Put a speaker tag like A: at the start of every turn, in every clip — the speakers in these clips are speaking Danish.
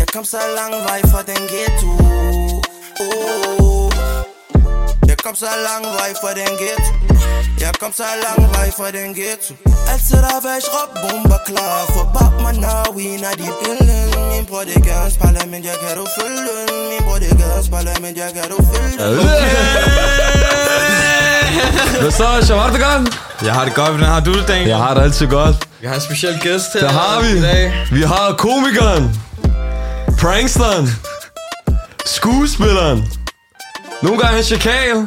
A: Jeg kom så lang vej fra den ghetto oh. Jeg kom så lang vej fra den ghetto Jeg kom så lang vej fra den ghetto Altså der var jeg råb bomber klar For bak mig når vi når de pillen Min bror det gerne spiller, men jeg kan du følge den. Min bror det gerne spiller, men jeg kan du følge den.
B: Hvad så, Shabbat Khan?
C: Jeg har det godt, hvordan har du det, Daniel?
B: Jeg har det altid godt.
C: Jeg har en speciel gæst her.
B: Der har vi.
C: I dag.
B: Vi har komikeren. Pranksteren. Skuespilleren. Nogle gange en chakal.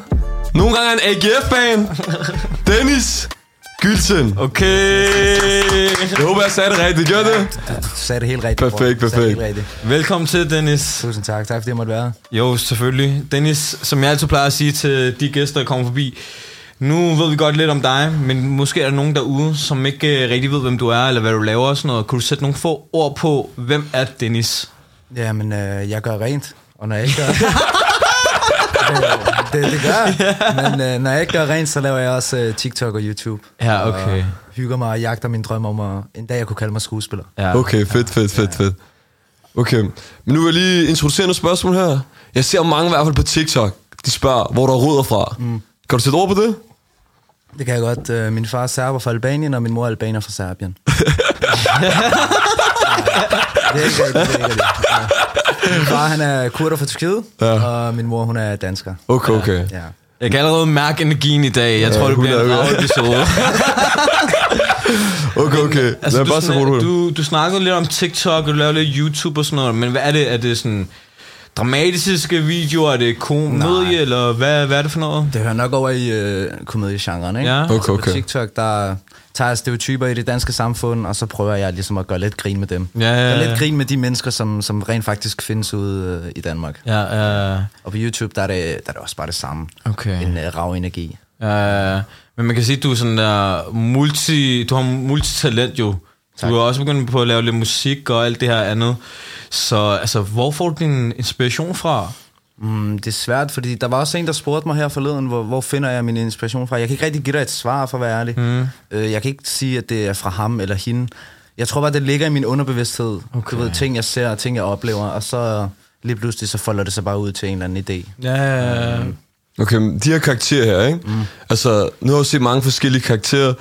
B: Nogle gange en AGF-fan. Dennis. Gylsen.
C: Okay.
B: Jeg håber, jeg sagde det rigtigt. Gør det?
D: Du sagde det helt rigtigt.
B: Perfekt,
D: bror. Du sagde det
B: perfekt.
D: helt rigtigt.
C: Velkommen til, Dennis.
D: Tusind tak. Tak fordi jeg måtte være her.
C: Jo, selvfølgelig. Dennis, som jeg altid plejer at sige til de gæster, der kommer forbi, nu ved vi godt lidt om dig, men måske er der nogen derude, som ikke øh, rigtig ved, hvem du er, eller hvad du laver og sådan noget. Kunne du sætte nogle få ord på, hvem er Dennis?
D: Jamen, øh, jeg gør rent, og når jeg ikke gør... det, det, det gør jeg. Men øh, når jeg ikke gør rent, så laver jeg også øh, TikTok og YouTube.
C: Ja, okay.
D: Og hygger mig og jagter min drøm om, at en dag jeg kunne kalde mig skuespiller.
C: Ja.
B: Okay, fedt, fedt, fedt, fedt. Okay, men nu vil jeg lige introducere nogle spørgsmål her. Jeg ser mange i hvert fald på TikTok, de spørger, hvor der er rødder fra. Mm. Kan du sætte ord på det?
D: Det kan jeg godt. Øh, min far er serber fra Albanien, og min mor er albaner fra Serbien. Ja, det er ikke rigtigt, det er ikke rigtigt. Ja. Min far, han er kurder fra Tyrkiet,
B: Ja.
D: ja. og min mor, hun er dansker.
B: Okay, okay.
D: Ja.
C: Jeg kan allerede mærke energien i dag. Jeg tror, det bliver en
B: 100,
C: rar
B: ja.
C: episode.
B: Okay, okay.
C: Altså,
B: Lad mig
C: du,
B: bare sætte ord på
C: sådan,
B: det.
C: du, du snakkede lidt om TikTok, og du laver lidt YouTube og sådan noget, men hvad er det? Er det sådan dramatiske videoer? Er det komedie,
D: Nej.
C: eller hvad, hvad er det for noget?
D: Det hører nok over i øh, komediegenren, ikke?
C: Ja. Okay,
D: Altså
B: okay.
D: På TikTok, der tager jeg stereotyper i det danske samfund, og så prøver jeg ligesom at gøre lidt grin med dem.
C: Ja, ja, ja.
D: Gøre lidt grin med de mennesker, som, som rent faktisk findes ude øh, i Danmark.
C: Ja, øh,
D: Og på YouTube, der er det, der er det også bare det samme.
C: Okay.
D: En øh, rav energi.
C: øh, men man kan sige, at du er sådan der multi, du har multitalent jo. Tak. Du er også begyndt på at lave lidt musik og alt det her andet. Så altså, hvor får du din inspiration fra?
D: Mm, det er svært, fordi der var også en, der spurgte mig her forleden, hvor, hvor finder jeg min inspiration fra? Jeg kan ikke rigtig give dig et svar, for at være ærlig. Mm. Øh, jeg kan ikke sige, at det er fra ham eller hende. Jeg tror bare, det ligger i min underbevidsthed. Okay. Du ved, ting jeg ser og ting jeg oplever, og så øh, lige pludselig så folder det sig bare ud til en eller anden idé.
C: Ja, øh,
B: Okay, men de her karakterer her, ikke? Mm. Altså, nu har jeg jo set mange forskellige karakterer.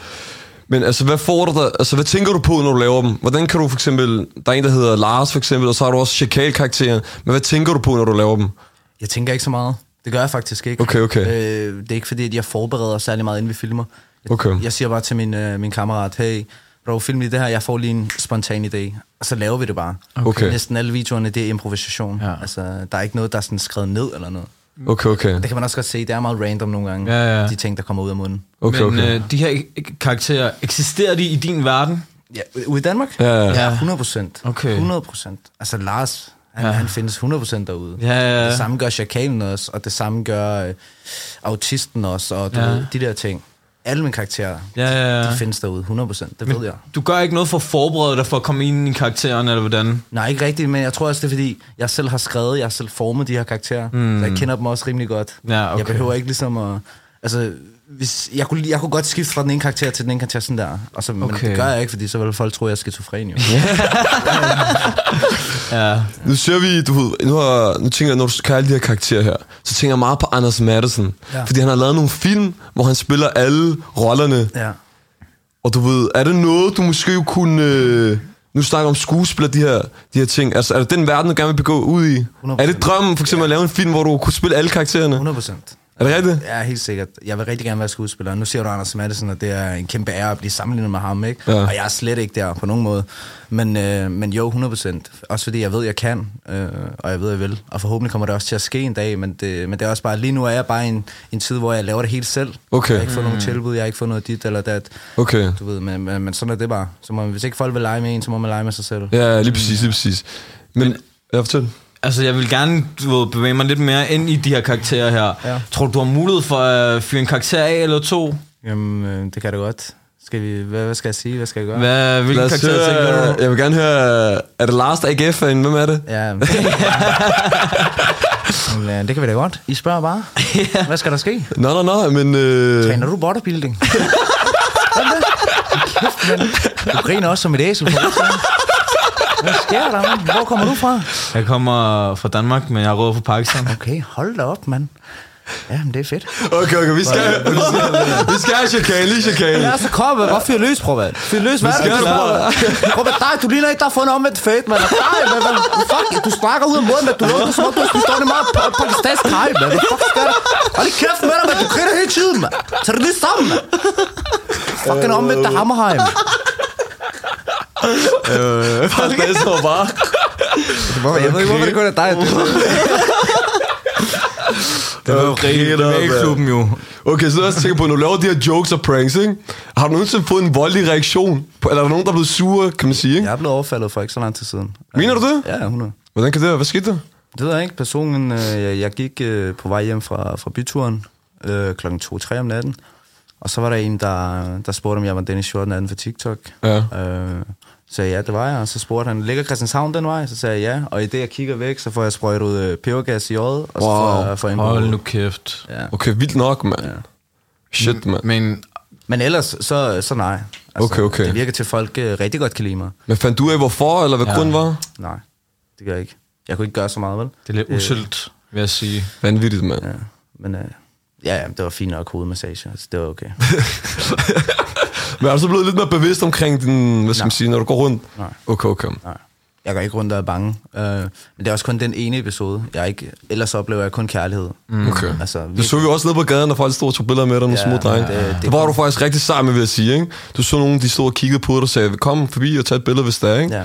B: Men altså, hvad får du der, altså, hvad tænker du på, når du laver dem? Hvordan kan du for eksempel, der er en, der hedder Lars for eksempel, og så har du også Chakal-karakteren. Men hvad tænker du på, når du laver dem?
D: Jeg tænker ikke så meget. Det gør jeg faktisk ikke.
B: Okay, okay.
D: Øh, det er ikke fordi, at jeg forbereder særlig meget, inden vi filmer. Jeg,
B: Okay.
D: jeg siger bare til min, øh, min kammerat, hey, bro, film lige det her, jeg får lige en spontan idé. Og så laver vi det bare.
B: Okay.
D: Næsten alle videoerne, det er improvisation.
C: Ja.
D: Altså, der er ikke noget, der er sådan skrevet ned eller noget.
C: Mm.
B: Okay, okay.
D: Det kan man også godt se, det er meget random nogle gange,
C: Ja, ja.
D: de ting, der kommer ud af munden.
B: Okay,
C: men
B: okay.
C: Øh, de her ik- karakterer, eksisterer de i din verden?
D: Ja, ude i Danmark?
B: Ja, ja.
D: ja 100 procent.
C: Okay.
D: 100 procent. Altså Lars, han,
C: Ja.
D: ja. han findes 100 procent derude.
C: Ja, ja, ja.
D: Det samme gør chakalen også, og det samme gør øh, autisten også, og du
C: Ja.
D: ja. ved, de der ting. Alle mine karakterer,
C: Ja, ja, ja.
D: de findes derude, 100 procent. Det ved jeg.
C: Du gør ikke noget for at forberede dig for at komme ind i karakteren, eller hvordan?
D: Nej, ikke rigtigt, men jeg tror også, det er fordi, jeg selv har skrevet, jeg har selv formet de her karakterer, mm. så jeg kender dem også rimelig godt.
C: Ja, okay.
D: Jeg behøver ikke ligesom at... Altså, hvis, jeg, kunne, jeg kunne godt skifte fra den ene karakter til den ene karakter sådan der, og så, okay. men
C: Okay.
D: det gør jeg ikke, fordi så vil folk tro, jeg er skizofren jo.
C: Ja.
B: Nu ser vi, du ved, nu, har, nu tænker jeg, når du skal alle de her karakterer her, så tænker jeg meget på Anders Madsen. Ja.
D: Ja.
B: Fordi han har lavet nogle film, hvor han spiller alle rollerne. Ja.
D: ja.
B: Og du ved, er det noget, du måske kunne... Øh, nu snakker jeg om skuespil og de her, de her ting. Altså, er det den verden, du gerne vil begå ud i?
D: 100%.
B: Er det drømmen, for eksempel, at lave en film, hvor du kunne spille alle karaktererne?
D: 100 procent.
B: Er det rigtigt?
D: Ja, helt sikkert. Jeg vil rigtig gerne være skuespiller. Nu siger du Anders Madsen, og det er en kæmpe ære at blive sammenlignet med ham, ikke?
B: Ja.
D: Ja. Og jeg er slet ikke der på nogen måde. Men, øh, men jo, 100 procent. Også fordi jeg ved, jeg kan, øh, og jeg ved, jeg vil. Og forhåbentlig kommer det også til at ske en dag, men det, men det er også bare, lige nu er jeg bare i en, en tid, hvor jeg laver det helt selv.
B: Okay.
D: Jeg har ikke fået mm. nogen tilbud, jeg har ikke fået noget dit eller dat.
B: Okay.
D: Du ved, men, men, men sådan er det bare. Så må, hvis ikke folk vil lege med en, så må man lege med sig selv.
B: Ja, lige præcis, lige præcis. Men, jeg fortæl.
C: Altså, jeg vil gerne du ved, bevæge mig lidt mere ind i de her karakterer her. Ja.
D: Ja.
C: Tror du, du har mulighed for at fyre en karakter af eller to?
D: Jamen, øh, det kan det godt. Skal vi, hvad, hvad skal jeg sige? Hvad skal jeg gøre?
C: Hvad, hvilken
B: Lad os
C: karakter tænker
B: høre,
C: du?
B: jeg vil gerne høre, er det Lars, der ikke er fan? Hvem er det?
D: Ja. Men, øh, det kan vi da godt. I spørger bare. Hvad skal der ske?
B: Nå, nå, nå, men... Øh,
D: Træner du bodybuilding? Hvad med det? Kæft, mand. Du griner også som et æsel. på det, så. Hvad sker der, mand? Hvor kommer du fra?
C: Jeg kommer fra Danmark, men jeg har råd fra Pakistan.
D: Okay, hold da op, mand. Ja, men det er fedt.
B: Okay, okay, vi skal, vi skal have chikane, lige chikane.
D: Jeg er så koppe. Bare fyr løs, prøv at. Fyr løs, hvad er
B: skal
D: det, du
B: du
D: prøver? Prøv at, dig, du ligner ikke, der har fundet omvendt fade, mand. Nej, hvad, hvad, fuck, du snakker ud af munden, men du lukker som om, du har spist ordentligt meget pa- pakistansk kaj, mand. Hvad fuck sker der? Hold lige kæft med dig, mand. Du griner hele tiden, mand. Tag det lige sammen, mand. Fucking omvendt af Hammerheim.
B: Det står bare.
D: Jeg ved ikke, hvorfor det kun er dig.
C: Det var jo rigtig
B: Peter, mand.
C: klubben jo.
B: Okay, så også tænker på, når du laver de her jokes og pranks, ikke? Har du nogensinde fået en voldelig reaktion? På, eller er der nogen, der er blevet sure, kan man sige, ikke?
D: Jeg er blevet overfaldet for ikke så lang tid siden.
B: Mener du det?
D: Ja, 100.
B: Hvordan kan det være? Hvad skete der?
D: Det ved jeg ikke. Personen, øh, jeg, jeg gik øh, på vej hjem fra, fra byturen øh, klokken 2-3 om natten. Og så var der en, der, der spurgte, om jeg var Dennis Shorten anden for TikTok.
B: Ja.
D: Øh, så sagde jeg, ja, det var jeg. Og så spurgte han, ligger Christianshavn den vej? Så sagde jeg ja. Og i det, jeg kigger væk, så får jeg sprøjtet øh, pebergas i øjet. Og så får jeg, får jeg en
C: Hold
D: bøde.
C: nu kæft.
D: Ja.
B: Okay, vildt nok, mand. Shit, mand.
C: Men
D: Men ellers, så, så nej. Altså,
B: Okay, okay.
D: Det virker til, at folk øh, rigtig godt kan lide mig.
B: Men fandt du af, hvorfor, eller hvad ja. grund var?
D: Nej, det gør jeg ikke. Jeg kunne ikke gøre så meget, vel?
C: det er lidt usselt, vil jeg sige.
B: Vanvittigt, mand.
D: Ja, men øh, ja, ja, det var fint nok hovedmassage. Altså, det var okay.
B: Men er du så blevet lidt mere bevidst omkring din, hvad skal man sige, når du går rundt?
D: Nej.
B: Okay, okay.
D: Nej. Jeg går ikke rundt og er bange. Øh, men det er også kun den ene episode. Jeg er ikke, ellers oplever jeg kun kærlighed. Mm.
B: Okay.
D: Altså, vi,
B: Det så vi også nede på gaden, når folk stod og tog billeder med dig, nogle
D: Ja,
B: små drenge.
D: det- det-
B: Det, var du faktisk rigtig sej med, vil jeg sige, ikke? Du så nogen, de stod og kiggede på dig og sagde, kom forbi og tag et billede, hvis der er, ikke?
D: ja, ja.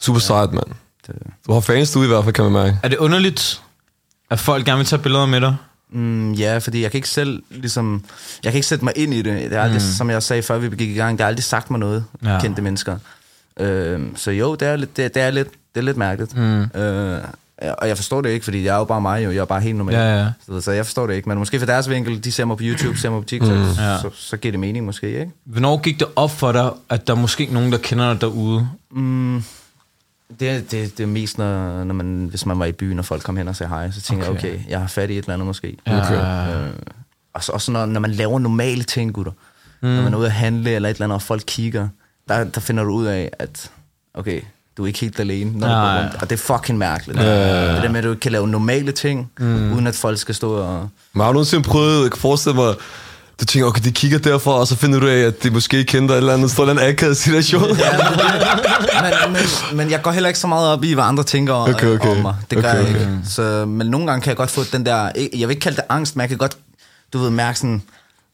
B: Super sejt, mand.
D: Det,
B: Du har fans du i hvert fald, kan man mærke.
C: Er det underligt, at folk gerne vil tage billeder med dig?
D: mm, ja, fordi jeg kan ikke selv ligesom, jeg kan ikke sætte mig ind i det. Det er aldrig, mm. som jeg sagde før vi gik i gang, det har aldrig sagt mig noget,
C: Ja.
D: ja. kendte mennesker. Øh, så jo, det er, lidt, det, det er lidt, det er lidt mærkeligt. Mm. Øh, og jeg forstår det ikke, fordi jeg er jo bare mig, jo. jeg er bare helt normal.
C: Ja, ja.
D: Så, så jeg forstår det ikke, men måske fra deres vinkel, de ser mig på YouTube, ser mig på TikTok, mm.
C: Ja.
D: så, så, så giver det mening måske, ikke?
C: Hvornår gik det op for dig, at der er måske nogen, der kender dig derude?
D: Det, er- det, det er mest, når, når man, hvis man var i byen, og folk kom hen og sagde hej, så tænker okay.
C: Okay.
D: jeg, okay, jeg har fat i et eller andet måske.
C: Okay.
D: Øh, og så også når, når man laver normale ting, gutter. Mm. Når man er ude at handle eller et eller andet, og folk kigger, der, der finder du ud af, at okay, du er ikke helt alene, når du
C: Nej.
D: går rundt. Og det er fucking mærkeligt. Det der med, at du ikke kan lave normale ting, mm. uden at folk skal stå og...
B: Men har du nogensinde prøvet, jeg kan forestille mig, du tænker, okay, de kigger derfra, og så finder du af, at de måske ikke kender dig et eller andet, står en eller anden akavet situation.
D: Ja, men, men, men jeg går heller ikke så meget op i, hvad andre tænker om,
B: Okay, okay.
D: om mig. Det gør
B: Okay,
D: jeg
B: okay.
D: ikke. Så, men nogle gange kan jeg godt få den der... ikke- Jeg vil ikke kalde det angst, men jeg kan godt, du ved, mærke sådan...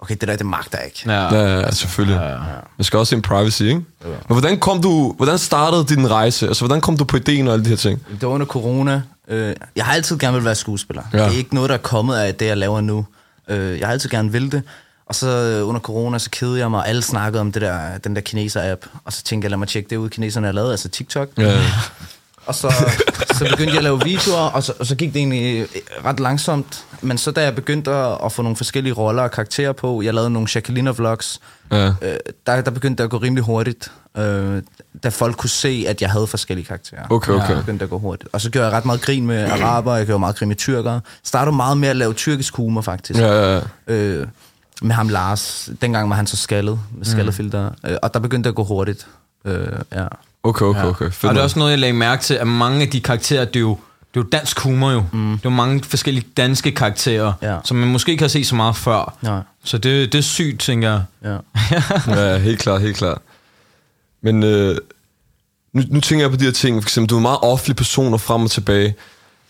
D: Okay, det der, det magter jeg ikke.
C: Ja.
B: Ja, ja, selvfølgelig. Man skal også have en privacy, ikke? Men hvordan, kom du, hvordan startede din rejse? Altså, hvordan kom du på ideen og alle de her ting?
D: Det var under corona. Øh, jeg har altid gerne vil være skuespiller.
B: Ja.
D: Ja. Det er ikke noget, der er kommet af det, jeg laver nu. Øh, jeg har altid gerne vil det. Og så øh, under corona, så kedede jeg mig, og alle snakkede om det der, den der kineser-app. Og så tænkte jeg, lad mig tjekke det ud, kineserne har lavet, altså TikTok.
B: Ja.
D: Og så, så begyndte jeg at lave videoer, og så, og så gik det egentlig øh, ret langsomt. Men så da jeg begyndte at, at få nogle forskellige roller og karakterer på, jeg lavede nogle Jacqueline-vlogs,
B: ja.
D: øh, der, der begyndte det at gå rimelig hurtigt. Øh, da folk kunne se, at jeg havde forskellige karakterer.
B: Okay, okay.
D: Ja, begyndte det at gå hurtigt. Og så gjorde jeg ret meget grin med araber, jeg gjorde meget grin med tyrkere. Startede meget med at lave tyrkisk humor, faktisk.
B: Ja, ja, ja.
D: Øh, med ham Lars. Dengang var han så skaldet,
B: Mm.
D: med skaldefilter. Øh, og der begyndte det at gå hurtigt. Øh, ja.
B: Okay, okay, okay. Fedt,
C: Og det er
B: mand.
C: også noget, jeg lagde mærke til, at mange af de karakterer, det er jo, det er jo dansk humor jo. Mm. Det er jo mange forskellige danske karakterer,
D: Ja.
C: som man måske ikke har set så meget før.
D: Nej.
C: Så det, det er sygt, tænker jeg.
D: ja.
B: ja, helt klart, helt klart. Men øh, nu, nu tænker jeg på de her ting. For eksempel, du er en meget offentlig person og frem og tilbage.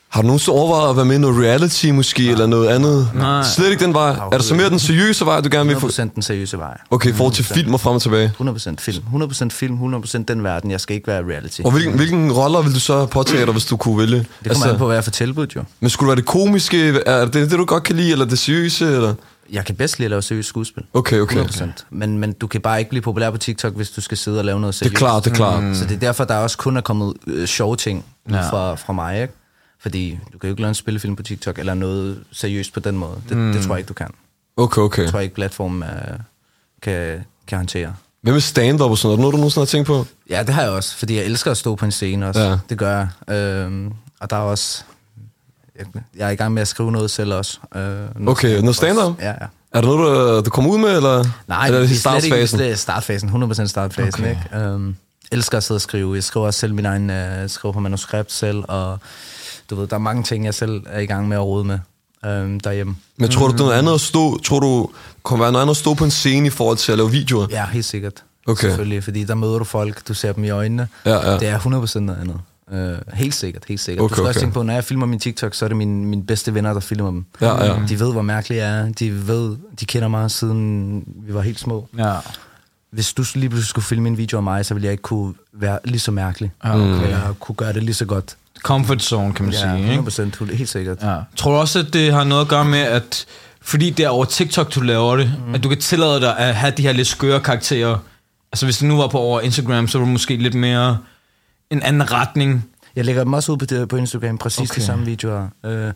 B: Har du nogensinde overvejet at være med i noget reality måske, eller noget andet?
C: Nej.
B: Slet ikke den vej. Er det så mere den seriøse vej, du gerne vil få?
D: 100% den seriøse vej.
B: Okay, i forhold til film og frem og tilbage.
D: 100% film. 100% film, 100% den verden. Jeg skal ikke være reality.
B: Og hvilken, hvilken roller vil du så påtage dig, hvis du kunne vælge?
D: Det kommer altså, an på, hvad jeg får tilbudt, jo.
B: Men skulle det være det komiske? Er det det, du godt kan lide, eller det seriøse? Eller?
D: Jeg kan bedst lide at lave seriøst skuespil.
B: Okay, okay.
D: 100%. Men, men du kan bare ikke blive populær på TikTok, hvis du skal sidde og lave noget seriøst.
B: Det er klart, det er klart. Mm.
D: Så det er derfor, der også kun er kommet øh, sjove ting ja. fra, fra mig, ikke? Fordi du kan jo ikke lave en spillefilm på TikTok, eller noget seriøst på den måde. Det, mm. det tror jeg ikke, du kan. Det
B: Okay, okay.
D: tror jeg ikke, platformen øh, kan, kan håndtere.
B: Hvad med stand-up og sådan noget? Er det noget, du nogensinde har tænkt på?
D: Ja, det har jeg også, fordi jeg elsker at stå på en scene også.
B: Ja.
D: Ja. Det gør jeg. Øhm, og der er også... Jeg, jeg er i gang med at skrive noget selv også. Øh, noget
B: Okay,
D: stand-up
B: noget stand-up?
D: også. Ja, ja.
B: Er der noget, du, du kommer ud med, eller?
D: Nej,
B: eller
D: det,
B: i
D: det er slet ikke
B: startfasen?
D: det er startfasen. 100% startfasen, okay. ikke? Um, elsker at sidde og skrive. Jeg skriver også selv min egen, øh, jeg skriver på manuskript selv, og du ved, der er mange ting, jeg selv er i gang med at rode med øhm, derhjemme.
B: Men tror du, det er
D: Mhm.
B: noget andet at stå, tror du, kommer være noget andet at stå på en scene i forhold til at lave videoer?
D: Ja, helt sikkert.
B: Okay.
D: Selvfølgelig, fordi der møder du folk, du ser dem i øjnene.
B: Ja, ja.
D: Det er 100% noget andet. Uh, helt sikkert, helt sikkert.
B: Okay,
D: du skal også
B: okay.
D: tænke på, når jeg filmer min TikTok, så er det mine, mine bedste venner, der filmer dem.
B: Ja, ja.
D: De ved, hvor mærkelig jeg er. De ved, de kender mig, siden vi var helt små.
C: Ja.
D: Hvis du lige pludselig skulle filme en video af mig, så ville jeg ikke kunne være lige så mærkelig.
C: Ah,
D: Okay. Jeg kunne gøre det lige så godt.
C: Comfort zone, kan man
D: Ja,
C: sige. Ikke?
D: 100% helt sikkert.
C: Ja. Tror du også, at det har noget at gøre med, at fordi det er over TikTok, du laver det, mm. at du kan tillade dig at have de her lidt skøre karakterer? Altså hvis det nu var på over Instagram, så var det måske lidt mere en anden retning.
D: Jeg lægger dem også ud på, det, på Instagram, præcis okay.
C: Okay.
D: de samme videoer. Øh,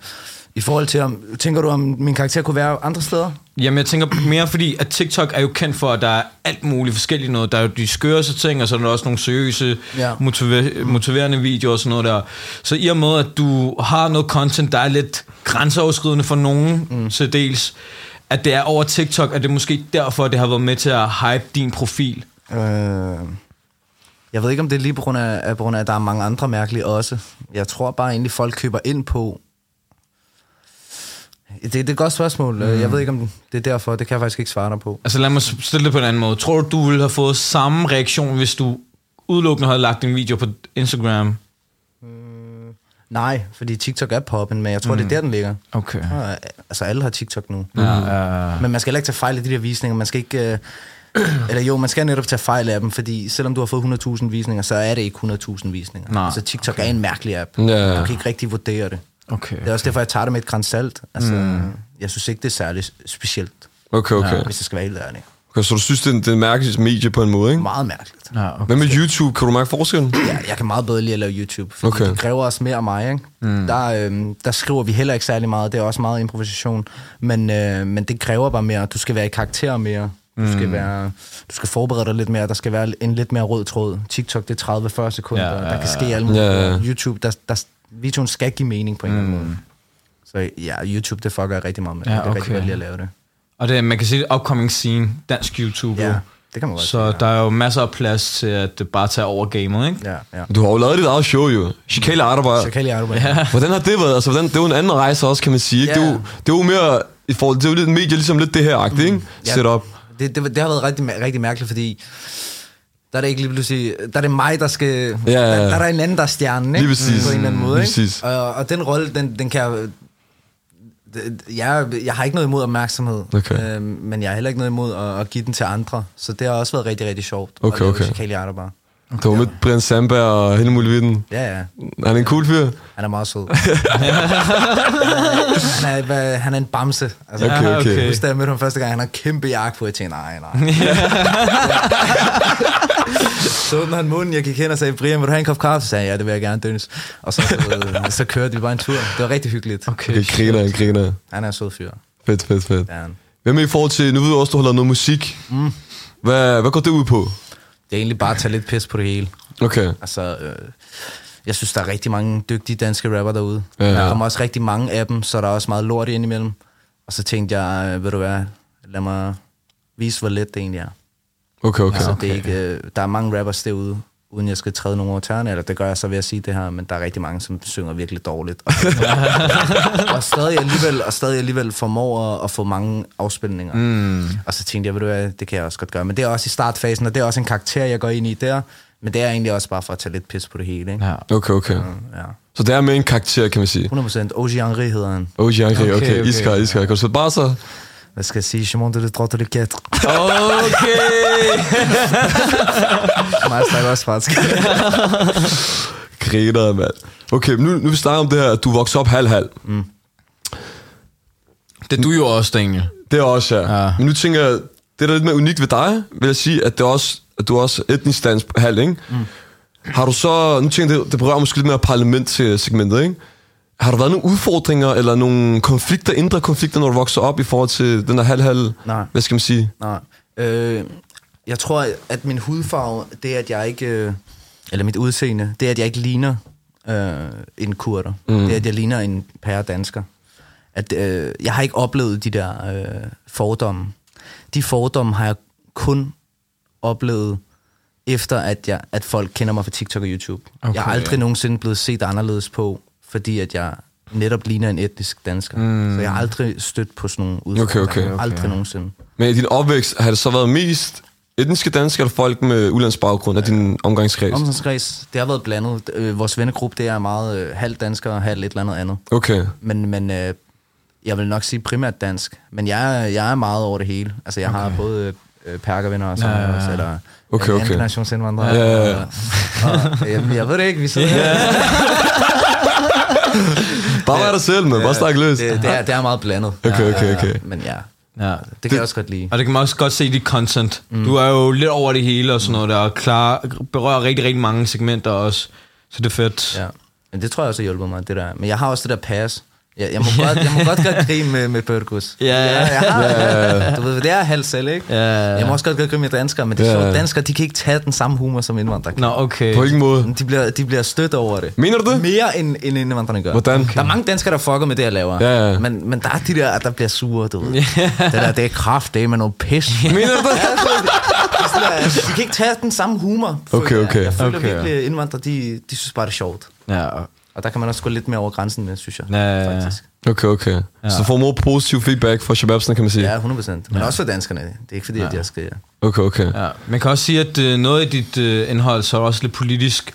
D: I forhold til, om, tænker du, om min karakter kunne være andre steder?
C: Jamen jeg tænker mere fordi, at TikTok er jo kendt for, at der er alt muligt forskelligt noget. Der er jo de skøreste ting, og så er der også nogle seriøse,
D: Ja.
C: ja. motiver- motiverende videoer og sådan noget der. Så i og med, at du har noget content, der er lidt grænseoverskridende for nogen mm. til dels, at det er over TikTok, at det er måske derfor, det har været med til at hype din profil.
D: Øh, jeg ved ikke, om det er lige på grund af, af, på grund af, at der er mange andre mærkelige også. Jeg tror bare egentlig, folk køber ind på... Det, det er et godt spørgsmål. Mm. Jeg ved ikke, om det er derfor. Det kan jeg faktisk ikke svare dig på.
C: Altså lad mig stille det på en anden måde. Tror du, du ville have fået samme reaktion, hvis du udelukkende havde lagt en video på Instagram?
D: Nej, fordi TikTok er poppen, men jeg tror, mm. det er der, den ligger.
C: Okay.
D: Øh, Altså, alle har TikTok nu. Mm.
C: Ja, ja.
D: Men man skal heller ikke tage fejl af de der visninger. Man skal ikke... Øh, eller jo, man skal netop tage fejl af dem, fordi selvom du har fået 100.000 visninger, så er det ikke 100.000 visninger.
C: Nej,
D: så TikTok okay. er en mærkelig app.
B: Ja.
D: Du kan ikke rigtig vurdere det.
C: Okay.
D: Det er også derfor, jeg tager det med et grænsalt. Altså, mm. Jeg synes ikke, det er særligt specielt,
B: Okay, okay.
D: hvis jeg skal være helt ærlig.
B: okay så du synes, det er, en- det er en mærkelig medie på en måde, ikke?
D: Meget mærkeligt.
C: Ja, okay.
B: Hvad med YouTube? Kan du mærke forskellen?
D: Ja, jeg kan meget bedre lide at lave YouTube, fordi
B: Okay.
D: okay. det kræver også mere af mig. Ikke? Mm. Der, øhm, der skriver vi heller ikke særlig meget, det er også meget improvisation, men, øh, men det kræver bare mere. Du skal være i karakter mere, du skal, være, du skal forberede dig lidt mere, der skal være en lidt mere rød tråd. TikTok, det er 30-40 sekunder,
C: Ja,
D: ja,
C: ja,
D: ja, der kan ske alt muligt.
B: Ja, ja.
D: YouTube, der, der, videoen skal give mening på en eller anden måde. Så ja, YouTube, det fucker jeg rigtig meget med.
C: Ja,
D: Ja, okay. Det
C: okay.
D: er rigtig godt lide at lave det.
C: Og det, er- man kan se det upcoming scene, dansk YouTube.
D: Ja, det kan man godt
C: Så der er jo masser af plads til at øh, bare tage over gamet, ikke?
D: Ja, ja.
B: Du har jo lavet dit eget show, jo. Chikale
D: Så
B: Arbejde.
D: kan jeg lide ja.
B: Hvordan har det været? Altså, hvordan, det er jo en anden rejse også, kan man sige. Ikke?
D: Ja. Mm.
B: Det, er jo, det er jo mere i forhold til det er jo lidt medie, ligesom lidt det her agtigt, ikke?
D: Ja.
B: Set op.
D: det, det, det har været rigtig, mær- rigtig mærkeligt, fordi der er det ikke lige pludselig, der er det mig, der skal, ja,
B: ja,
D: ja,
B: ja.
D: ja. Der, der er en anden, der er stjernen, ikke?
B: Lige præcis.
D: på en eller anden måde.
B: Lige præcis.
D: Ikke? Og, og den rolle, den, den kan jeg, det- jeg, jeg har ikke noget imod opmærksomhed,
B: Okay.
D: øh, men jeg har heller ikke noget imod at, at give den til andre, så det har også været rigtig, rigtig sjovt.
B: Okay, okay.
D: Chikali bare.
B: Det var med Brian Sandberg og hele muligheden.
D: Ja, ja.
B: Er han en cool fyr?
D: Han er meget sød. han, er, hvad- han er en bamse. Altså,
B: Okay, okay.
C: Øh.
D: Jeg husker, da jeg mødte ham første gang, han har en kæmpe jakke på, jeg tænkte, nej, nej. så åbnede han munden, jeg gik hen og sagde, Brian, vil du have en kop kaffe? Så sagde jeg, ja, det vil jeg gerne, Dennis. Og så, så, så kørte vi bare en tur. Det var rigtig hyggeligt.
B: Okay, griner, han griner.
D: Han er en sød fyr.
B: Fedt, fedt, fedt.
D: Ja, Mm. han.
B: Hvad med i forhold til, nu ved jeg også, du har lavet noget musik. Hvad, hvad går det ud på?
D: Det er egentlig bare at tage lidt pis på det hele.
B: Okay.
D: Altså, øh, jeg synes, der er rigtig mange dygtige danske rapper derude.
B: Ja.
D: Ja. Der kommer også rigtig mange af dem, så der er også meget lort indimellem. Og så tænkte jeg, øh, ved du hvad, lad mig vise, hvor let det egentlig er.
B: Okay, okay.
D: Altså, det er ikke, øh, der er mange rappers derude, uden jeg skal træde nogen over tæerne, eller det gør jeg så ved at sige det her, men der er rigtig mange, som synger virkelig dårligt. Og, og, stadig, alligevel, og stadig alligevel formår at, at få mange afspilninger. Mm. Og så tænkte jeg, ved du hvad, det kan jeg også godt gøre. Men det er også i startfasen, og det er også en karakter, jeg går ind i der. Men det er egentlig også bare for at tage lidt pis på det hele, ikke?
C: Ja.
B: Okay, okay.
D: ja.
B: Så det er med en karakter, kan man sige.
D: 100% OG Henri hedder han.
B: Oh, ja, okay, okay.
C: Okay,
B: okay.
C: okay.
B: Iskar, Iskar. Kan du spille bare så?
D: Hvad skal jeg sige? Je monte le droit de quatre.
C: Okay!
D: Mig snakker også fransk.
B: Griner, mand. Okay, men nu, nu vi snakker om det her, at du voksede op halv-halv.
C: det er du jo også, Daniel.
B: Det er også, ja. ja.
C: Ja.
B: Men nu tænker jeg, det der er lidt mere unikt ved dig, vil jeg sige, at, det er også, at du er også etnisk dansk halv, ikke? Mm. Har du så, nu tænker jeg, det, det berører måske lidt mere parlament til segmentet, ikke? Har der været nogle udfordringer eller nogle konflikter, indre konflikter, når du vokser op i forhold til den der halv-halv?
D: Nej.
B: Hvad skal man sige?
D: Nej. Øh, jeg tror, at min hudfarve, det er, at jeg ikke... Øh, eller mit udseende, det er, at jeg ikke ligner øh, en kurder. Mm. Det er, at jeg ligner en pære dansker. At, øh, jeg har ikke oplevet de der øh, fordomme. De fordomme har jeg kun oplevet efter at, jeg, at folk kender mig fra TikTok og YouTube. Okay, jeg er aldrig ja. nogensinde blevet set anderledes på, fordi at jeg netop ligner en etnisk dansker. Mm. Så jeg har aldrig stødt på sådan nogle udfordringer.
B: okay, okay,
D: aldrig nogensinde.
B: Men i din opvækst, har det så været mest etniske danskere eller folk med ulandsbaggrund af din omgangskreds?
D: Omgangskreds, det har været blandet. Øh, vores vennegruppe, det er meget øh, halvt dansker og halvt et eller andet andet.
B: Okay.
D: Men, men øh, jeg vil nok sige primært dansk. Men jeg, er- jeg er meget over det hele. Altså, jeg okay. har både øh, perkervenner og sådan noget. Ja, ja. Eller,
B: Okay, okay.
D: Internationsindvandrere.
B: Ja, ja, ja.
D: Og, og, jamen, jeg ved det ikke, vi sidder yeah.
B: Bare vær dig selv, man. Bare snak løs.
D: det, det, er, det er meget blandet.
B: Okay,
D: Ja,
B: okay,
D: ja, ja.
B: okay.
D: Men ja,
C: Ja.
D: det kan det, jeg også godt lide.
C: Og det kan man også godt se i dit content. Mm. Du er jo lidt over det hele og sådan noget, der og klar, berører rigtig, rigtig mange segmenter også. Så det er fedt.
D: Ja. Men det tror jeg også har hjulpet mig, det der. Men jeg har også det der pas. Jeg, jeg, må, godt, jeg må godt godt grine med, med Burgos.
C: Ja, ja.
D: Jeg har, Du ved, det er halv selv, ikke?
C: Ja, ja, ja.
D: Jeg må også godt godt grine med danskere, men det er
B: Ja,
D: yeah.
B: ja.
D: sjovt. Danskere, de kan ikke tage den samme humor som indvandrere.
C: Nå, okay.
B: På hvilken måde?
D: De bliver, de bliver stødt over det.
B: Mener du det?
D: Mere end, end indvandrerne gør.
B: Hvordan?
D: Okay. Der er mange danskere, der fucker med det, jeg laver.
B: Ja, ja.
D: Men, men der er de der, der bliver sure, du ved. Det der, det er kraft, det er med noget pis. Yeah.
B: Mener du det?
D: altså, De kan ikke tage den samme humor. føler
B: Okay,
D: jeg.
B: okay.
D: Jeg føler
C: Okay.
D: virkelig, at indvandrere, de, de synes bare, det er sjovt.
C: Ja.
D: Og der kan man også gå lidt mere over grænsen med, synes jeg.
C: Ja, ja, ja.
D: Faktisk.
B: Okay, okay. Så du får mere positiv feedback fra shababsen, kan man sige.
D: Ja, 100 procent. Men også for danskerne. Det er ikke fordi, ja. at jeg skal...
B: Okay, okay.
C: ja. Man kan også sige, at øh, noget af dit øh, indhold, så er det også lidt politisk.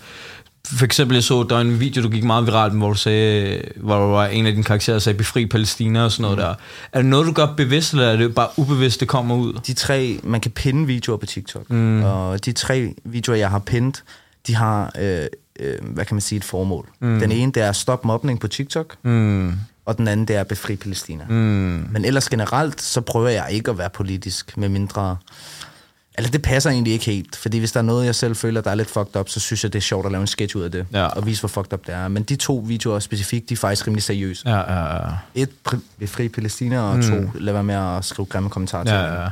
C: For eksempel, jeg så, der var en video, du gik meget viralt, hvor du sagde, øh, hvor der var en af dine karakterer, der sagde, befri Palæstina og sådan noget der. Er det noget, du gør bevidst, eller er det bare ubevidst, det kommer ud?
D: De tre... Man kan pinde videoer på TikTok. Mm. Og de tre videoer, jeg har pindet, de har, øh, øh, hvad kan man sige, et formål. Mm. Den ene, det er stop mobning på TikTok. Mm. Og den anden, det er befri Palæstina. Mm. Men ellers generelt, så prøver jeg ikke at være politisk, med mindre... Eller det passer egentlig ikke helt, fordi hvis der er noget, jeg selv føler, der er lidt fucked up, så synes jeg, det er sjovt at lave en sketch ud af det,
C: Ja.
D: og vise, hvor fucked up det er. Men de to videoer specifikt, de er faktisk rimelig seriøse.
C: Ja, ja, ja.
D: et pri- befri Palæstina, og mm. to lad være med at skrive grimme kommentarer til.
C: ja, ja.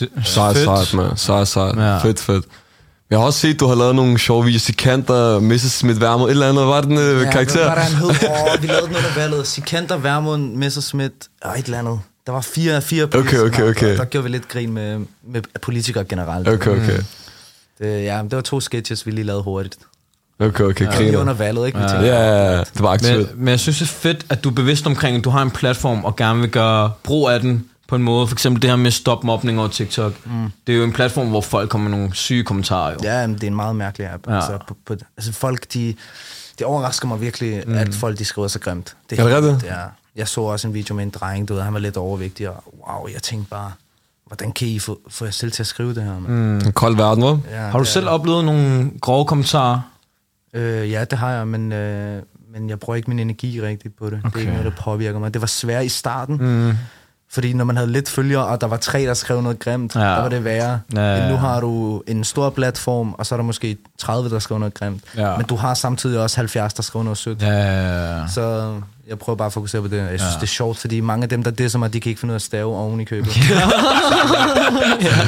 C: Det,
B: Sejt, sejt, mand. Sejt, sejt.
C: Ja.
B: Fedt, fedt. Jeg har også set, du har lavet nogle sjove videoer. Sikander, Mrs. Smith Værmod, et eller andet. Hvad var den øh, karakter?
D: Hvad var der, han hed? Oh, vi lavede den under valget. Sikander, Vermund, Messerschmidt og et eller andet. Der var fire, fire politikere,
B: okay, okay.
D: og Der gjorde vi lidt grin med, med politikere generelt.
B: Okay, okay.
D: Det, ja, det var to sketches, vi lige lavede hurtigt.
B: Okay, okay,
D: Lige
B: griner.
D: under valget, ikke? Vi tænkte,
B: Ja, ja, ja. det var
C: Men,
B: aktivt.
C: men jeg synes, det er fedt, at du er bevidst omkring, at du har en platform og gerne vil gøre brug af den på en måde. For eksempel det her med stop mobning over TikTok. Mm. Det er jo en platform, hvor folk kommer med nogle syge kommentarer. Jo.
D: Ja, men det er en meget mærkelig app. Ja. Altså, på, på, altså folk, de, det overrasker mig virkelig, mm. at folk de skriver så grimt. Det
B: Er det
D: helt
B: rigtigt?
D: vildt, Ja. Jeg så også en video med en dreng, du ved, han var lidt overvægtig, og wow, jeg tænkte bare, hvordan kan I få, få jer selv til at skrive det her? Mm.
B: En kold verden, hva'?
D: Ja,
C: har du
D: det
C: selv oplevet nogle grove kommentarer?
D: er- Øh, ja, det har jeg, men, øh, men jeg bruger ikke min energi rigtigt på det. Okay. Det er ikke noget, der påvirker mig. Det var svært i starten, mm. fordi når man havde lidt følgere, og der var tre, der skrev noget grimt,
C: Ja.
D: ja. der var det værre.
C: Ja, ja,
D: Men nu
C: ja.
D: har du en stor platform, og så er der måske 30, der skriver noget grimt.
C: Ja.
D: Men du har samtidig også 70, der skriver noget sødt.
C: Ja.
D: Så jeg prøver bare at fokusere på det. Jeg synes, ja. det er sjovt, fordi mange af dem, der disser mig, de kan ikke finde ud af at stave oven i købet. ja.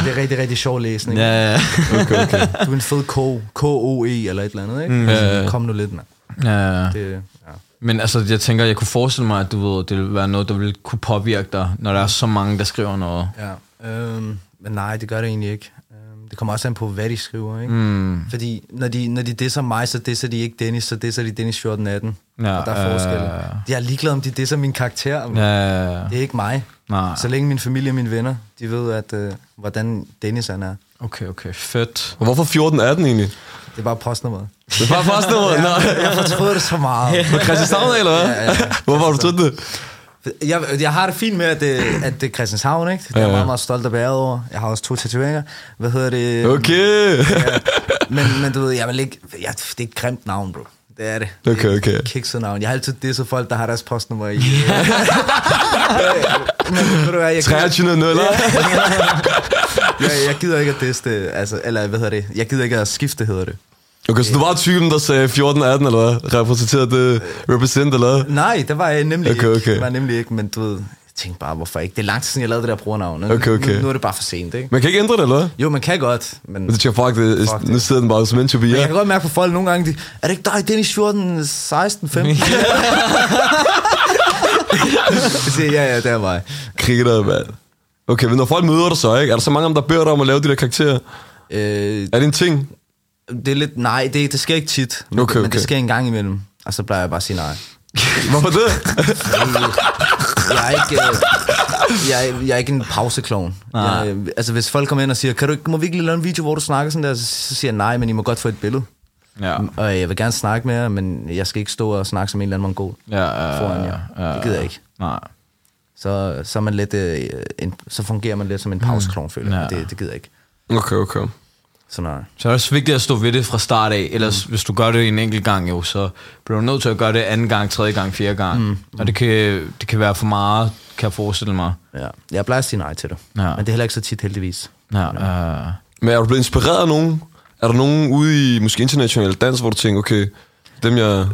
D: Det er rigtig, rigtig sjov læsning. Ja.
C: Ja,
B: Okay, okay.
D: Du er en fed K, K-O-E eller et eller andet, ikke? Altså,
B: ja, ja.
D: Kom nu lidt, mand.
C: ja.
D: Det, ja.
C: Men altså, jeg tænker, jeg kunne forestille mig, at du ved, det ville være noget, der ville kunne påvirke dig, når der er så mange, der skriver noget.
D: Ja, øhm, men nej, det gør det egentlig ikke. Øhm, det kommer også an på, hvad de skriver, ikke? Mm. Fordi når de, når de disser mig, så disser de ikke Dennis, så disser de Dennis 14 18.
C: Ja,
D: Ja, og der er forskel.
C: øh.
D: Jeg er ligeglad, om de disser min karakter.
C: Ja, ja, ja.
D: Det er ikke mig.
C: Nej.
D: Så længe min familie og mine venner, de ved, at, øh, hvordan Dennis han er.
C: Okay, okay. Fedt.
B: Og Hvorfor 14-18 egentlig?
D: Det er bare postnummeret.
B: Det var bare sådan noget. Nå,
D: Jeg fortryder det så meget.
B: på Christianshavn, eller hvad? Hvorfor har du troet det?
D: Jeg, jeg har det fint med, at det, at det er Christianshavn, ikke? Det er jeg
B: Ja.
D: meget, meget stolt af bæret over. Jeg har også to tatoveringer. Hvad hedder det?
B: Okay.
D: Men, men du ved, jeg vil ikke... Jeg, det er et grimt navn, bro. Det er det.
B: Okay,
D: Det er
B: okay.
D: et kikset navn. Jeg har altid disset folk, der har deres postnummer i. Yeah. men ved du hvad, jeg, gider,
B: 23 0 eller?
D: jeg, jeg gider ikke at disse det, altså, eller hvad hedder det? Jeg gider ikke at skifte, hedder det.
B: Okay, så du var typen, der sagde 14-18, eller hvad? Repræsenterede det represent, eller hvad?
D: Nej, det var jeg nemlig
B: Okay,
D: ikke.
B: okay.
D: Det var jeg nemlig ikke, men du ved, jeg tænkte bare, hvorfor ikke? Det er lang tid siden, jeg lavede det der brugernavn.
B: Okay, okay.
D: Nu, nu er det bare for sent, ikke?
B: Man kan ikke ændre det, eller hvad?
D: Jo, man kan godt, men...
B: Det tænker fuck, det,
D: Fuck det.
B: nu sidder den bare som en to be,
D: Men
B: ja.
D: jeg kan godt mærke på folk nogle gange, de, er det ikke dig, Dennis 14, 16, 15? Jeg siger, ja, ja, det er mig.
B: Krigter, mand. Okay, men når folk møder dig så, ikke? Er der så mange om, der beder dig om at lave de der karakterer?
D: Øh,
B: Er det en ting?
D: Det er lidt, nej, det, det sker ikke tit. Men,
B: Okay,
D: men
B: okay.
D: det sker en gang imellem. Og så plejer jeg bare at sige nej. Øh,
B: Hvorfor det?
D: Jeg er ikke, øh, jeg, er- jeg er ikke en pauseklovn. Jeg, øh, altså, hvis folk kommer ind og siger, kan du ikke, må vi ikke lige lave en video, hvor du snakker sådan der? Så, så siger jeg nej, men I må godt få et billede.
C: Ja.
D: Og jeg vil gerne snakke med jer, men jeg skal ikke stå og snakke som en eller anden mongol
C: Ja, ja,
D: foran jer. Det gider jeg ikke.
C: Nej.
D: Så, så, er man lidt, øh, en, så fungerer man lidt som en pauseklovn, føler jeg.
C: Mm. Ja.
D: Det, det gider jeg ikke.
B: Okay, okay.
D: Så nej.
C: Så er det også vigtigt at stå ved det fra start af, ellers mm. hvis du gør det en enkelt gang jo, så bliver du nødt til at gøre det anden gang, tredje gang, fjerde gang. Mm. Og det kan, det kan være for meget, kan jeg forestille mig.
D: Ja. Jeg plejer at sige nej til det.
C: Ja.
D: Men det er heller ikke så tit, heldigvis.
C: Ja, øh,
B: Men er du blevet inspireret af nogen? Er der nogen ude i måske international dans, hvor du tænker, okay, dem jeg...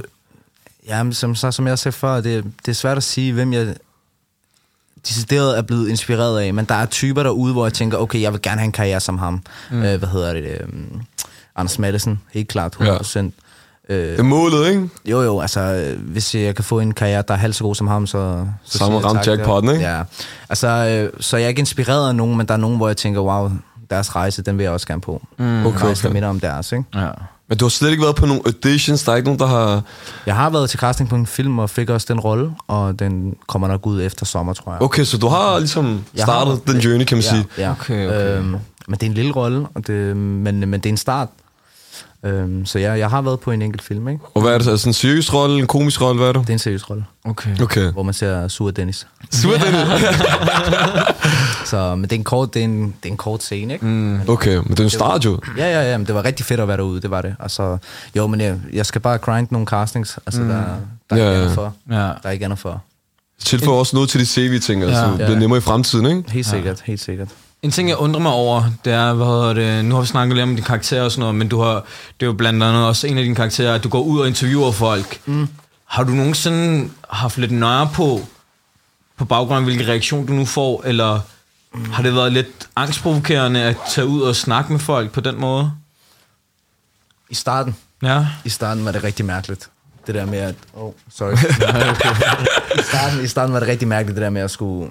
D: Jamen, som, så, som jeg sagde før, det, det er svært at sige, hvem jeg decideret er blevet inspireret af, men der er typer derude, hvor jeg tænker, okay, jeg vil gerne have en karriere som ham. Mm. Øh, hvad hedder det? Øh, Anders Maddelsen, helt klart, Øh, 100%. Ja.
B: Det er målet, ikke?
D: Jo, jo, altså, øh, hvis jeg kan få en karriere, der er halvt så god som ham, så... så
B: Samme
D: siger jeg
B: ramt
D: tak, ja.
B: jackpotten, ikke?
D: Ja, altså, øh, så jeg er ikke inspireret af nogen, men der er nogen, hvor jeg tænker, wow, deres rejse, den vil jeg også gerne på. Mm.
B: Okay,
D: Rejse, der
B: okay.
D: minder om deres, ikke?
C: ja.
B: Men du har slet ikke været på nogen auditions, der er ikke nogen, der har...
D: Jeg har været til casting på en film, og fik også den rolle, og den kommer nok ud efter sommer, tror jeg.
B: Okay, så du har ligesom
D: Jeg har-
B: startet den journey, kan man
D: ja,
B: sige.
D: Ja.
C: Okay, okay.
D: Øhm, men det er en lille rolle, og det, men, men det er en start. Øhm, så jeg, jeg har været på en enkelt film, ikke?
B: Og hvad er det så? Altså en seriøs rolle, en komisk rolle, hvad er du?
D: Det er en seriøs rolle,
C: Okay.
B: Okay.
D: hvor man ser Sur Dennis.
B: Super, Dennis.
D: Så, men det er en kort, det er en, det er en kort scene, ikke? Mm.
B: Okay, men det er jo en start jo.
D: Ja, ja, ja, men det var rigtig fedt at være derude, det var det. Og så, jo, men jeg, jeg skal bare grind nogle castings, altså mm. der, der, er
B: Ja,
D: ja,
B: ja.
D: ikke andet for.
C: Ja.
D: Der er ikke andet for.
B: Tilføjer også noget til dit CV, tænker jeg, så
C: Ja.
B: altså. det bliver nemmere i fremtiden, ikke?
D: Helt sikkert, ja. helt sikkert.
C: En ting, jeg undrer mig over, det er, hvad hedder det, nu har vi snakket lidt om din karakter og sådan noget, men du har, det er jo blandt andet også en af dine karakterer, at du går ud og interviewer folk. Mm. Har du nogensinde haft lidt nøje på, på baggrund af hvilken reaktion du nu får, eller
D: Mm.
C: har det været lidt angstprovokerende at tage ud og snakke med folk på den måde?
D: I starten,
C: Ja.
D: I starten var det rigtig mærkeligt. Det der med at... Oh, sorry. I, starten, I starten var det rigtig mærkeligt, det der med at skulle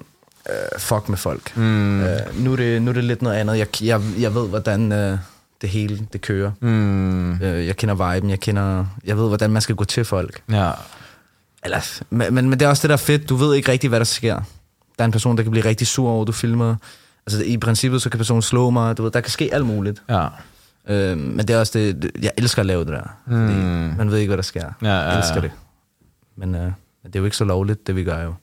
D: øh, fuck med folk. Mm. Øh, nu, er det, nu er det lidt noget andet. Jeg, jeg, jeg ved, hvordan øh, det hele det kører. Mm. Øh, jeg kender viben, jeg, kender, jeg ved, hvordan man skal gå til folk.
C: Ja.
D: Eller, men, men men det er også det, der er fedt. Du ved ikke rigtig, hvad der sker. Der er en person, der kan blive rigtig sur over, du filmer. Altså, i princippet, så kan personen slå mig. Du ved, der kan ske alt muligt.
C: Ja.
D: Øh, men det er også det, det- jeg elsker at lave det der. Mm. Man ved ikke, hvad der sker.
C: Ja, ja,
D: jeg elsker
C: ja.
D: det. Men, øh, men det er jo ikke så lovligt, det vi gør jo.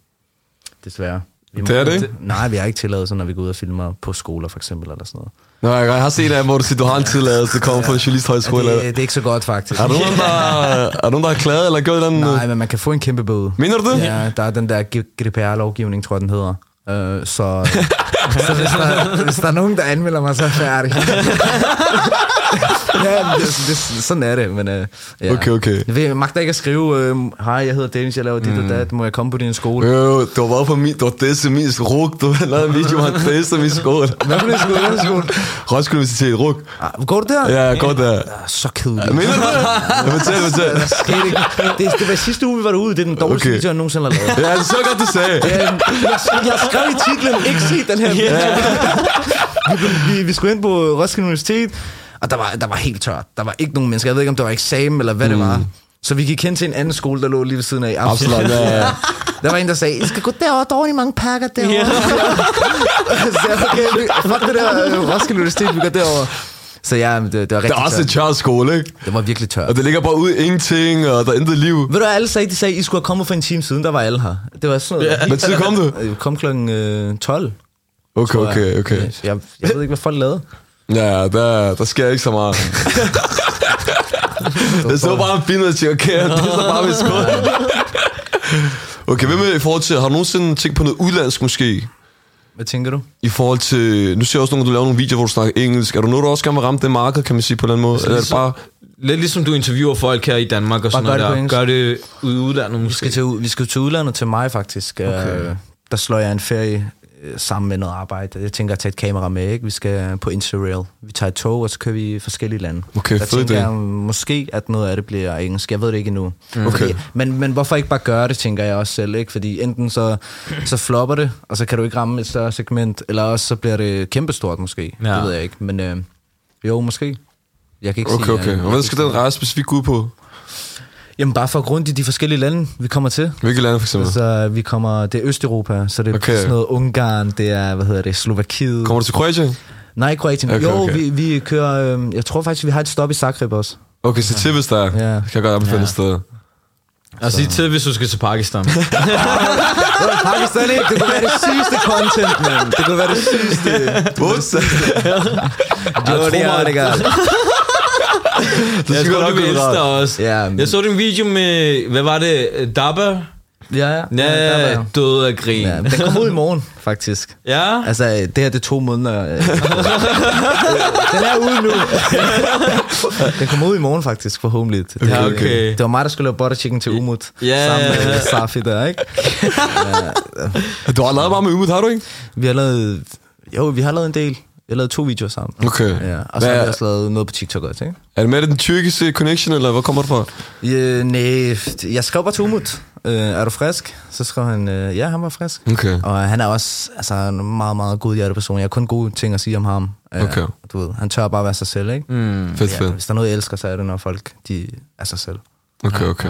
D: Desværre. Vi må
B: Det er det
D: ikke-
B: ikke?
D: Nej, vi har ikke tilladt sådan, når vi går ud og filmer på skoler for eksempel, eller sådan noget.
B: Nå, jeg jeg har set af, hvor du siger, du har en tilladelse, kommer fra en
D: Ja,
B: journalisthøjskole.
D: det,
B: eller-
D: det, er ikke så godt faktisk.
B: Er der nogen, der, er der nogen, der har klaget eller gjort den?
D: Nej, men man kan få en kæmpe bøde.
B: Mener du det?
D: Ja, der er den der G- GDPR-lovgivning, tror jeg, den hedder. Øh, så, så hvis, der, hvis der er nogen, der anmelder mig, så er jeg færdig. ja, men det, det, sådan er det, men... Øh, ja.
B: Okay, okay. Mm.
D: Jeg, ved, jeg magter ikke at skrive, øh, hej, jeg hedder Dennis, jeg laver dit og dat, må jeg komme på din skole?
B: Jo, du har været på min, du har disset min ruk, du har lavet en video, hvor han disser min skole.
D: Hvad for en skole? Hvad for en skole?
B: Roskilde Universitet, ruk.
D: Ah, går du der?
B: Ja, godt der.
D: Ah, Så kedeligt.
B: Mener du det? Ja, fortæl, fortæl.
D: Det, er det, det, det var sidste uge, vi var derude. Det er den dårligste
B: Okay.
D: video, jeg nogensinde har lavet.
B: Ja, det er så godt, du sagde.
D: Øhm, jeg, jeg skrev i titlen, ikke se den her. vi, blev- vi, vi skulle ind på Roskilde Universitet, og der var, der var helt tørt. Der var ikke nogen mennesker. Jeg ved ikke, om det var eksamen eller hvad mm. det var. Så vi gik hen til en anden skole, der lå lige ved siden af.
B: Absalon, ja, ja.
D: Der var en, der sagde, I skal gå derover, der er ordentligt mange pakker derovre.
C: Ja.
D: så jeg, okay, vi- fuck det der øh, Roskilde Universitet, vi går derover. Så ja, det, det var
B: Det
D: rigtig
B: er også en
D: tørt.
B: tør skole, ikke?
D: Det var virkelig tørt.
B: Og det ligger bare ude i ingenting, og der er intet liv.
D: Ved du, hvad alle sagde, de sagde, I skulle have kommet for en time siden, der var alle her. Det var sådan noget.
B: Hvad tid kom du?
D: Øh, Kom klokken øh, 12.
B: Okay, okay, okay.
D: Jeg, jeg ved ikke, hvad folk lavede.
B: Ja, ja, der, der sker ikke så meget. Det så bare en fin og siger, okay, det er så bare min skole. Okay, hvad med i forhold til, har du nogensinde tænkt på noget udlandsk måske?
D: Hvad tænker du?
B: I forhold til, nu ser jeg også nogle, du laver nogle videoer, hvor du snakker engelsk. Er du noget, der også gerne vil ramme det marked, kan man sige på den måde?
D: Altså,
B: Eller er det bare,
C: Lidt ligesom du interviewer folk her i Danmark og sådan
D: Bare
C: noget
D: gør det på
C: der.
D: engelsk.
C: Gør det ude i udlandet
D: Vi skal
C: måske.
D: til, ud- vi skal til udlandet til mig faktisk. Okay. Øh, der slår jeg en ferie øh, sammen med noget arbejde. Jeg tænker at tage et kamera med, ikke? Vi skal på Interrail. Vi tager et tog, og så kører vi i forskellige lande.
B: Okay,
D: der
B: fed
D: tænker
B: idé.
D: jeg måske, at noget af det bliver engelsk. Jeg ved det ikke endnu. Mm.
B: Okay.
D: men, men hvorfor ikke bare gøre det, tænker jeg også selv, ikke? Fordi enten så, så flopper det, og så kan du ikke ramme et større segment, eller også så bliver det kæmpestort måske.
C: Ja.
D: Det ved jeg ikke, men øh, jo, måske. Jeg kan ikke
B: Okay,
D: sige,
B: okay.
D: jeg-
B: Og hvad skal den rejse specifikt ud på?
D: Jamen bare for grund i de forskellige lande, vi kommer til.
B: Hvilke lande for eksempel?
D: Altså, vi kommer, det er Østeuropa, så det er
B: Okay.
D: okay. sådan noget Ungarn, det er, hvad hedder det, Slovakiet.
B: Kommer du til Kroatien?
D: Nej, Kroatien.
B: Okay,
D: Okay, jo,
B: okay.
D: okay. Vi, vi kører, øhm, jeg tror faktisk, vi har et stop i Zagreb også.
B: Okay, så til hvis der er.
D: Ja.
B: Kan jeg godt anbefale
D: Ja.
B: et sted.
C: Og sig Altså, til, hvis du skal til Pakistan.
D: Pakistan ikke, det kunne være det sygeste content, man. Det kunne være det sygeste.
B: Ups!
D: Jo, det er det gør.
B: Det skal
C: jeg tror,
B: godt
C: du
B: nok
C: vil
B: blive
C: elske
B: rart.
C: dig også.
D: Ja, men-
C: jeg så din video med, hvad var det, Dabba?
D: Ja, ja. der var
C: Ja,
D: jeg.
C: død af grin.
D: ja, den kommer ud i morgen, faktisk.
C: Ja?
D: Altså, øh, det her, det er to måneder. øh. den er ude nu. den kommer ud i morgen, faktisk, forhåbentlig. Det,
C: Ja, okay.
D: det var mig, der skulle lave butter chicken til Umut.
C: Ja.
D: Sammen med Safi der, ikke?
B: Du har lavet meget med Umut, har du ikke?
D: Vi har lavet... Jo, vi har lavet en del. Vi har lavet to videoer sammen.
B: Okay.
D: Ja, og så
B: Hvad
D: har vi
B: er,
D: også lavet noget på TikTok også, ikke?
B: er det med i den tyrkiske connection, eller hvor kommer det fra?
D: Øh, nej, jeg skrev bare til Umut. Øh, er du frisk? Så skrev han, øh, ja, han var frisk.
B: Okay.
D: Og han er også altså, en meget, meget god person. Jeg har kun gode ting at sige om ham. Øh,
B: Okay.
D: Du ved, han tør bare være sig selv, ikke? Mm,
B: Fedt, fedt.
D: hvis der er noget, jeg elsker, så er det, når folk de er sig selv.
B: Okay, okay.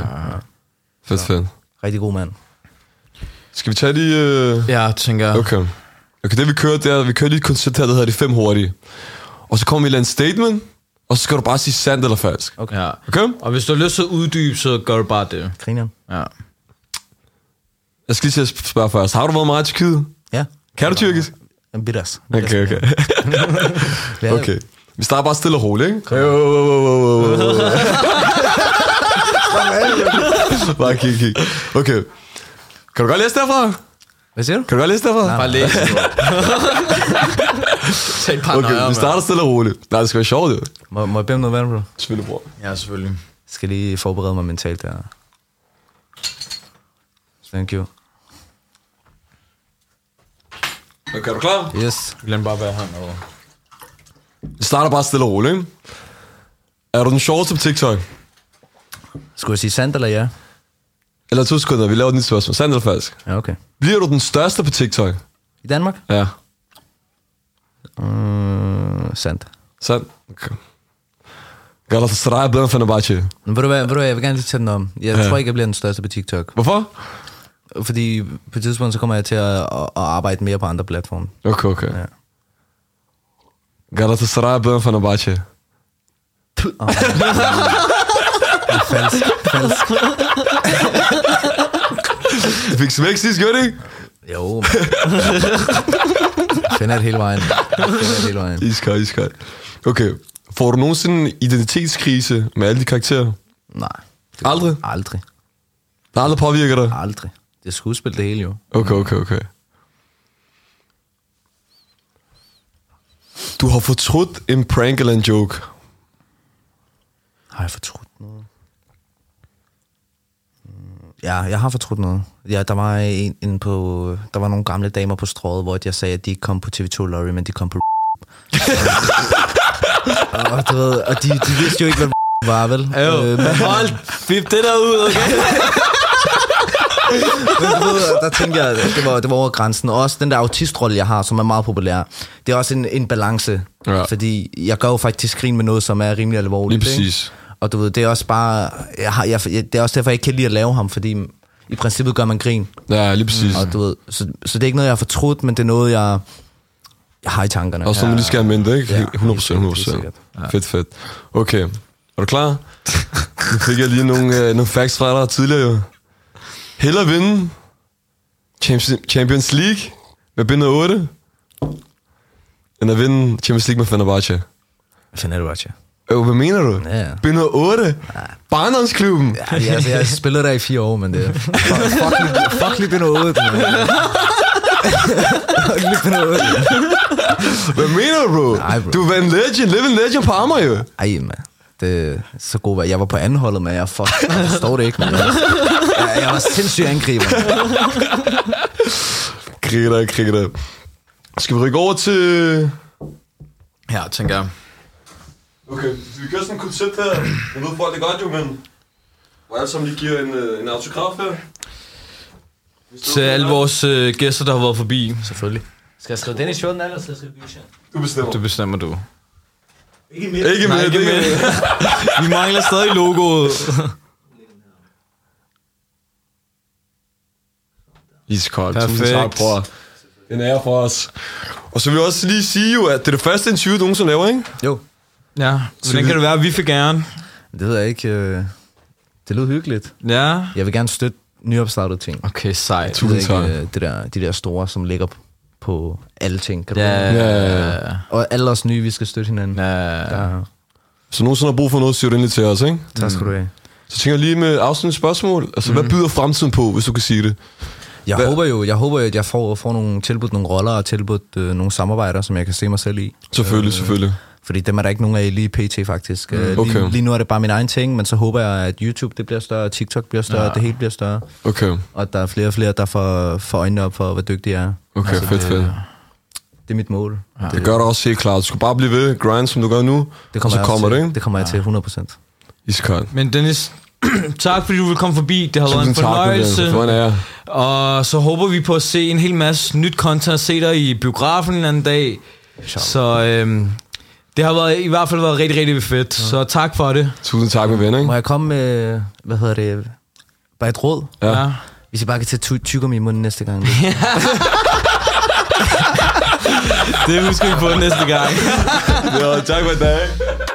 B: Fedt, fedt.
D: Rigtig god mand.
B: Skal vi tage lige... Øh...
C: Ja, tænker jeg.
B: Okay. Okay, det vi kører, det er, at vi kører lige et koncept her, der hedder de fem hurtige. Og så kommer vi et eller andet statement, og så skal du bare sige sandt eller falsk.
D: Okay.
C: Ja.
B: Okay?
C: Og hvis du har lyst til at uddybe, så gør du bare det.
D: Grineren.
C: Ja.
B: Jeg skal lige til at sp- spørge først. Har du været meget i Tyrkiet?
D: Ja.
B: Kan du tyrkisk?
D: En bitters.
B: Okay, okay.
D: Ja,
B: Okay. Vi starter bare stille og roligt, ikke?
D: Jo,
B: jo, jo, jo, jo, jo. Bare kig, kig. Okay. Kan du godt læse derfra?
D: Hvad siger du?
B: Kan du godt læse derfra?
D: Nej.
C: Bare læs. Tag et par
B: Okay,
C: nøjer,
B: vi
C: mand.
B: starter stille og roligt. Nej, det skal være sjovt, jo.
D: Må, må jeg bede om noget vand, bro?
B: Selvfølgelig, bror.
C: Ja, selvfølgelig.
D: skal lige forberede mig mentalt der. Thank you.
B: Okay, er du klar?
D: Yes.
C: Glem bare, hvad jeg har med.
B: Vi starter bare stille og roligt, ikke? Er du den sjoveste på TikTok?
D: Skulle jeg sige sandt eller ja?
B: Eller to sekunder, vi laver et nyt spørgsmål. Sandt eller falsk?
D: Ja, okay.
B: Bliver du den største på TikTok?
D: I Danmark?
B: Ja.
D: Mm, sandt.
B: Sandt? Okay. Galatasaray er blevet for Fenerbahce.
D: Men ved du hvad, ved du hvad, jeg vil gerne lige tage den om. Jeg
B: Ja.
D: ja. tror ikke, jeg bliver den største på TikTok.
B: Hvorfor?
D: Fordi på et tidspunkt, så kommer jeg til at, at at arbejde mere på andre platforme.
B: Okay, okay.
D: Ja.
B: Galatasaray er blevet for Fenerbahce.
D: Falsk. Falsk.
B: Det fik smæk sidst, gjorde det ikke?
D: Jo. Jeg Finder det hele vejen. Jeg Finder det hele vejen.
B: Iskold, iskold. Okay. Får du nogensinde en identitetskrise med alle de karakterer?
D: Nej.
B: Aldrig?
D: Aldrig.
B: Der aldrig påvirker dig?
D: Aldrig. Det er skuespil det hele jo.
B: Okay, okay, okay. Du har fortrudt en prank eller en joke.
D: Har jeg fortrudt noget? Mm, Ja, jeg har fortrudt noget. Ja, der var en, en på, der var nogle gamle damer på strået, hvor jeg sagde, at de ikke kom på TV2 Lorry, men de kom på og, du ved, og de, de vidste jo ikke, hvad var, vel?
C: Jo,
D: Øh, men,
C: hold fip det der ud, okay?
D: men du ved, der tænkte jeg, at det var, det var over grænsen. Og også den der autistrolle, jeg har, som er meget populær. Det er også en, en balance.
B: Ja.
D: Fordi jeg gør jo faktisk grin med noget, som er rimelig alvorligt.
B: Lige
D: ikke?
B: præcis.
D: Og du ved, det er også bare... Jeg har, jeg, jeg- det er også derfor, jeg ikke kan lide at lave ham, fordi i princippet gør man grin.
B: Ja, lige præcis.
D: Og du ved, så, så det er ikke noget, jeg har fortrudt, men det er noget, jeg, jeg har i tankerne.
B: Også når man lige skal have mente, ikke?
D: Ja,
B: 100
D: helt sikkert, helt
B: 100
D: sikkert.
B: ja. Fedt, fedt. Okay, er du klar? Nu fik jeg lige nogle, øh, nogle facts fra dig tidligere, jo. Hellere vinde Champions- Champions League med binder 8, end at vinde Champions League med Fenerbahce.
D: Finder du også, ja.
B: Øh, hvad mener du?
D: Ja, ja.
B: Binder 8? Barndomsklubben?
D: Ja, altså, jeg spillede der i fire år, men det er... Fuck, fuck lige binder ud. Fuck lige binder ud.
B: Hvad mener du, bro?
D: Nej, bro.
B: Du er en legend, living legend på Amager, jo.
D: Ej, man. Det er så god vej. Jeg var på anden holdet, men jeg, fuck, jeg forstår det ikke. Man. Jeg, jeg var sindssyg angriber.
B: Kriger, kriger. Skal vi rykke over til
C: Ja, tænker jeg.
B: Okay, vi kører sådan et koncept her. Jeg ved folk det godt jo, men... Hvor alle sammen lige giver en, øh, en autograf her. Hvis det er
C: Til
B: okay,
C: alle
B: ja.
C: vores øh, gæster, der har været forbi. Selvfølgelig.
D: Skal jeg skrive den i shorten, eller skal jeg skrive
B: Du bestemmer.
C: Det bestemmer du.
E: Ikke mere.
B: Ikke
C: Nej,
B: med,
C: ikke med. Vi mangler stadig logoet.
B: Iskoldt.
C: Perfekt.
B: Tusind tak, bror. Den er for os. Og så vil jeg også lige sige jo, at det er det første interview, du nogensinde laver, ikke?
D: Jo,
C: Ja, hvordan kan det være, at vi fik gerne?
D: det ved jeg ikke. Øh, det lød hyggeligt.
C: Ja.
D: Jeg vil gerne støtte nyopstartede ting.
C: Okay, sejt.
D: Jeg ved
B: Tusind tak.
D: øh, det der, de der store, som ligger p- på alle ting. Kan du
C: Ja,
D: yeah.
B: Ja,
D: Og alle os nye, vi skal støtte hinanden.
C: ja, ja.
D: Ja.
B: Så nogensinde har brug for noget, siger du endelig til os, ikke?
D: Tak
C: Mm.
D: skal du have.
B: Så tænker jeg lige med afsluttende spørgsmål. Altså, mm. hvad byder fremtiden på, hvis du kan sige det?
D: Jeg
B: Hvad-
D: håber jo, jeg håber, at jeg får, får nogle tilbudt nogle roller og tilbudt øh, nogle samarbejder, som jeg kan se mig selv i. Øh,
B: Selvfølgelig, selvfølgelig.
D: Fordi dem er der ikke nogen af lige pt. faktisk. Mm, okay.
B: okay.
D: lige, lige, nu er det bare min egen ting, men så håber jeg, at YouTube det bliver større, TikTok bliver større, ja. det hele bliver større.
B: Okay,
D: Og at der er flere og flere, der får, får øjnene op for, hvor dygtig jeg er.
B: okay, altså, fedt, fedt.
D: Det er mit mål. Ja.
B: Det gør du også helt klart. Du skal bare blive ved, grind som du gør nu,
D: Det
B: og så
D: jeg også
B: kommer
D: til.
B: det, ikke?
D: Det kommer jeg til 100%.
B: Iskoldt.
C: Men Dennis, tak fordi du vil komme forbi. Det har været en
B: Tusind tak,
C: fornøjelse.
B: Michael. Det var en ære.
C: Og så håber vi på at se en hel masse nyt content. Se dig i biografen en anden dag. Så øhm, det har været, i hvert fald været rigtig, rigtig fedt. Så tak for det.
B: Tusind tak, min ven,
D: Må
B: ikke?
D: jeg komme med, hvad hedder det, bare et råd?
B: Ja.
D: Hvis I bare kan tage ty- tykker i munden næste gang.
C: Det husker vi på næste gang.
B: Ja, tak for i dag.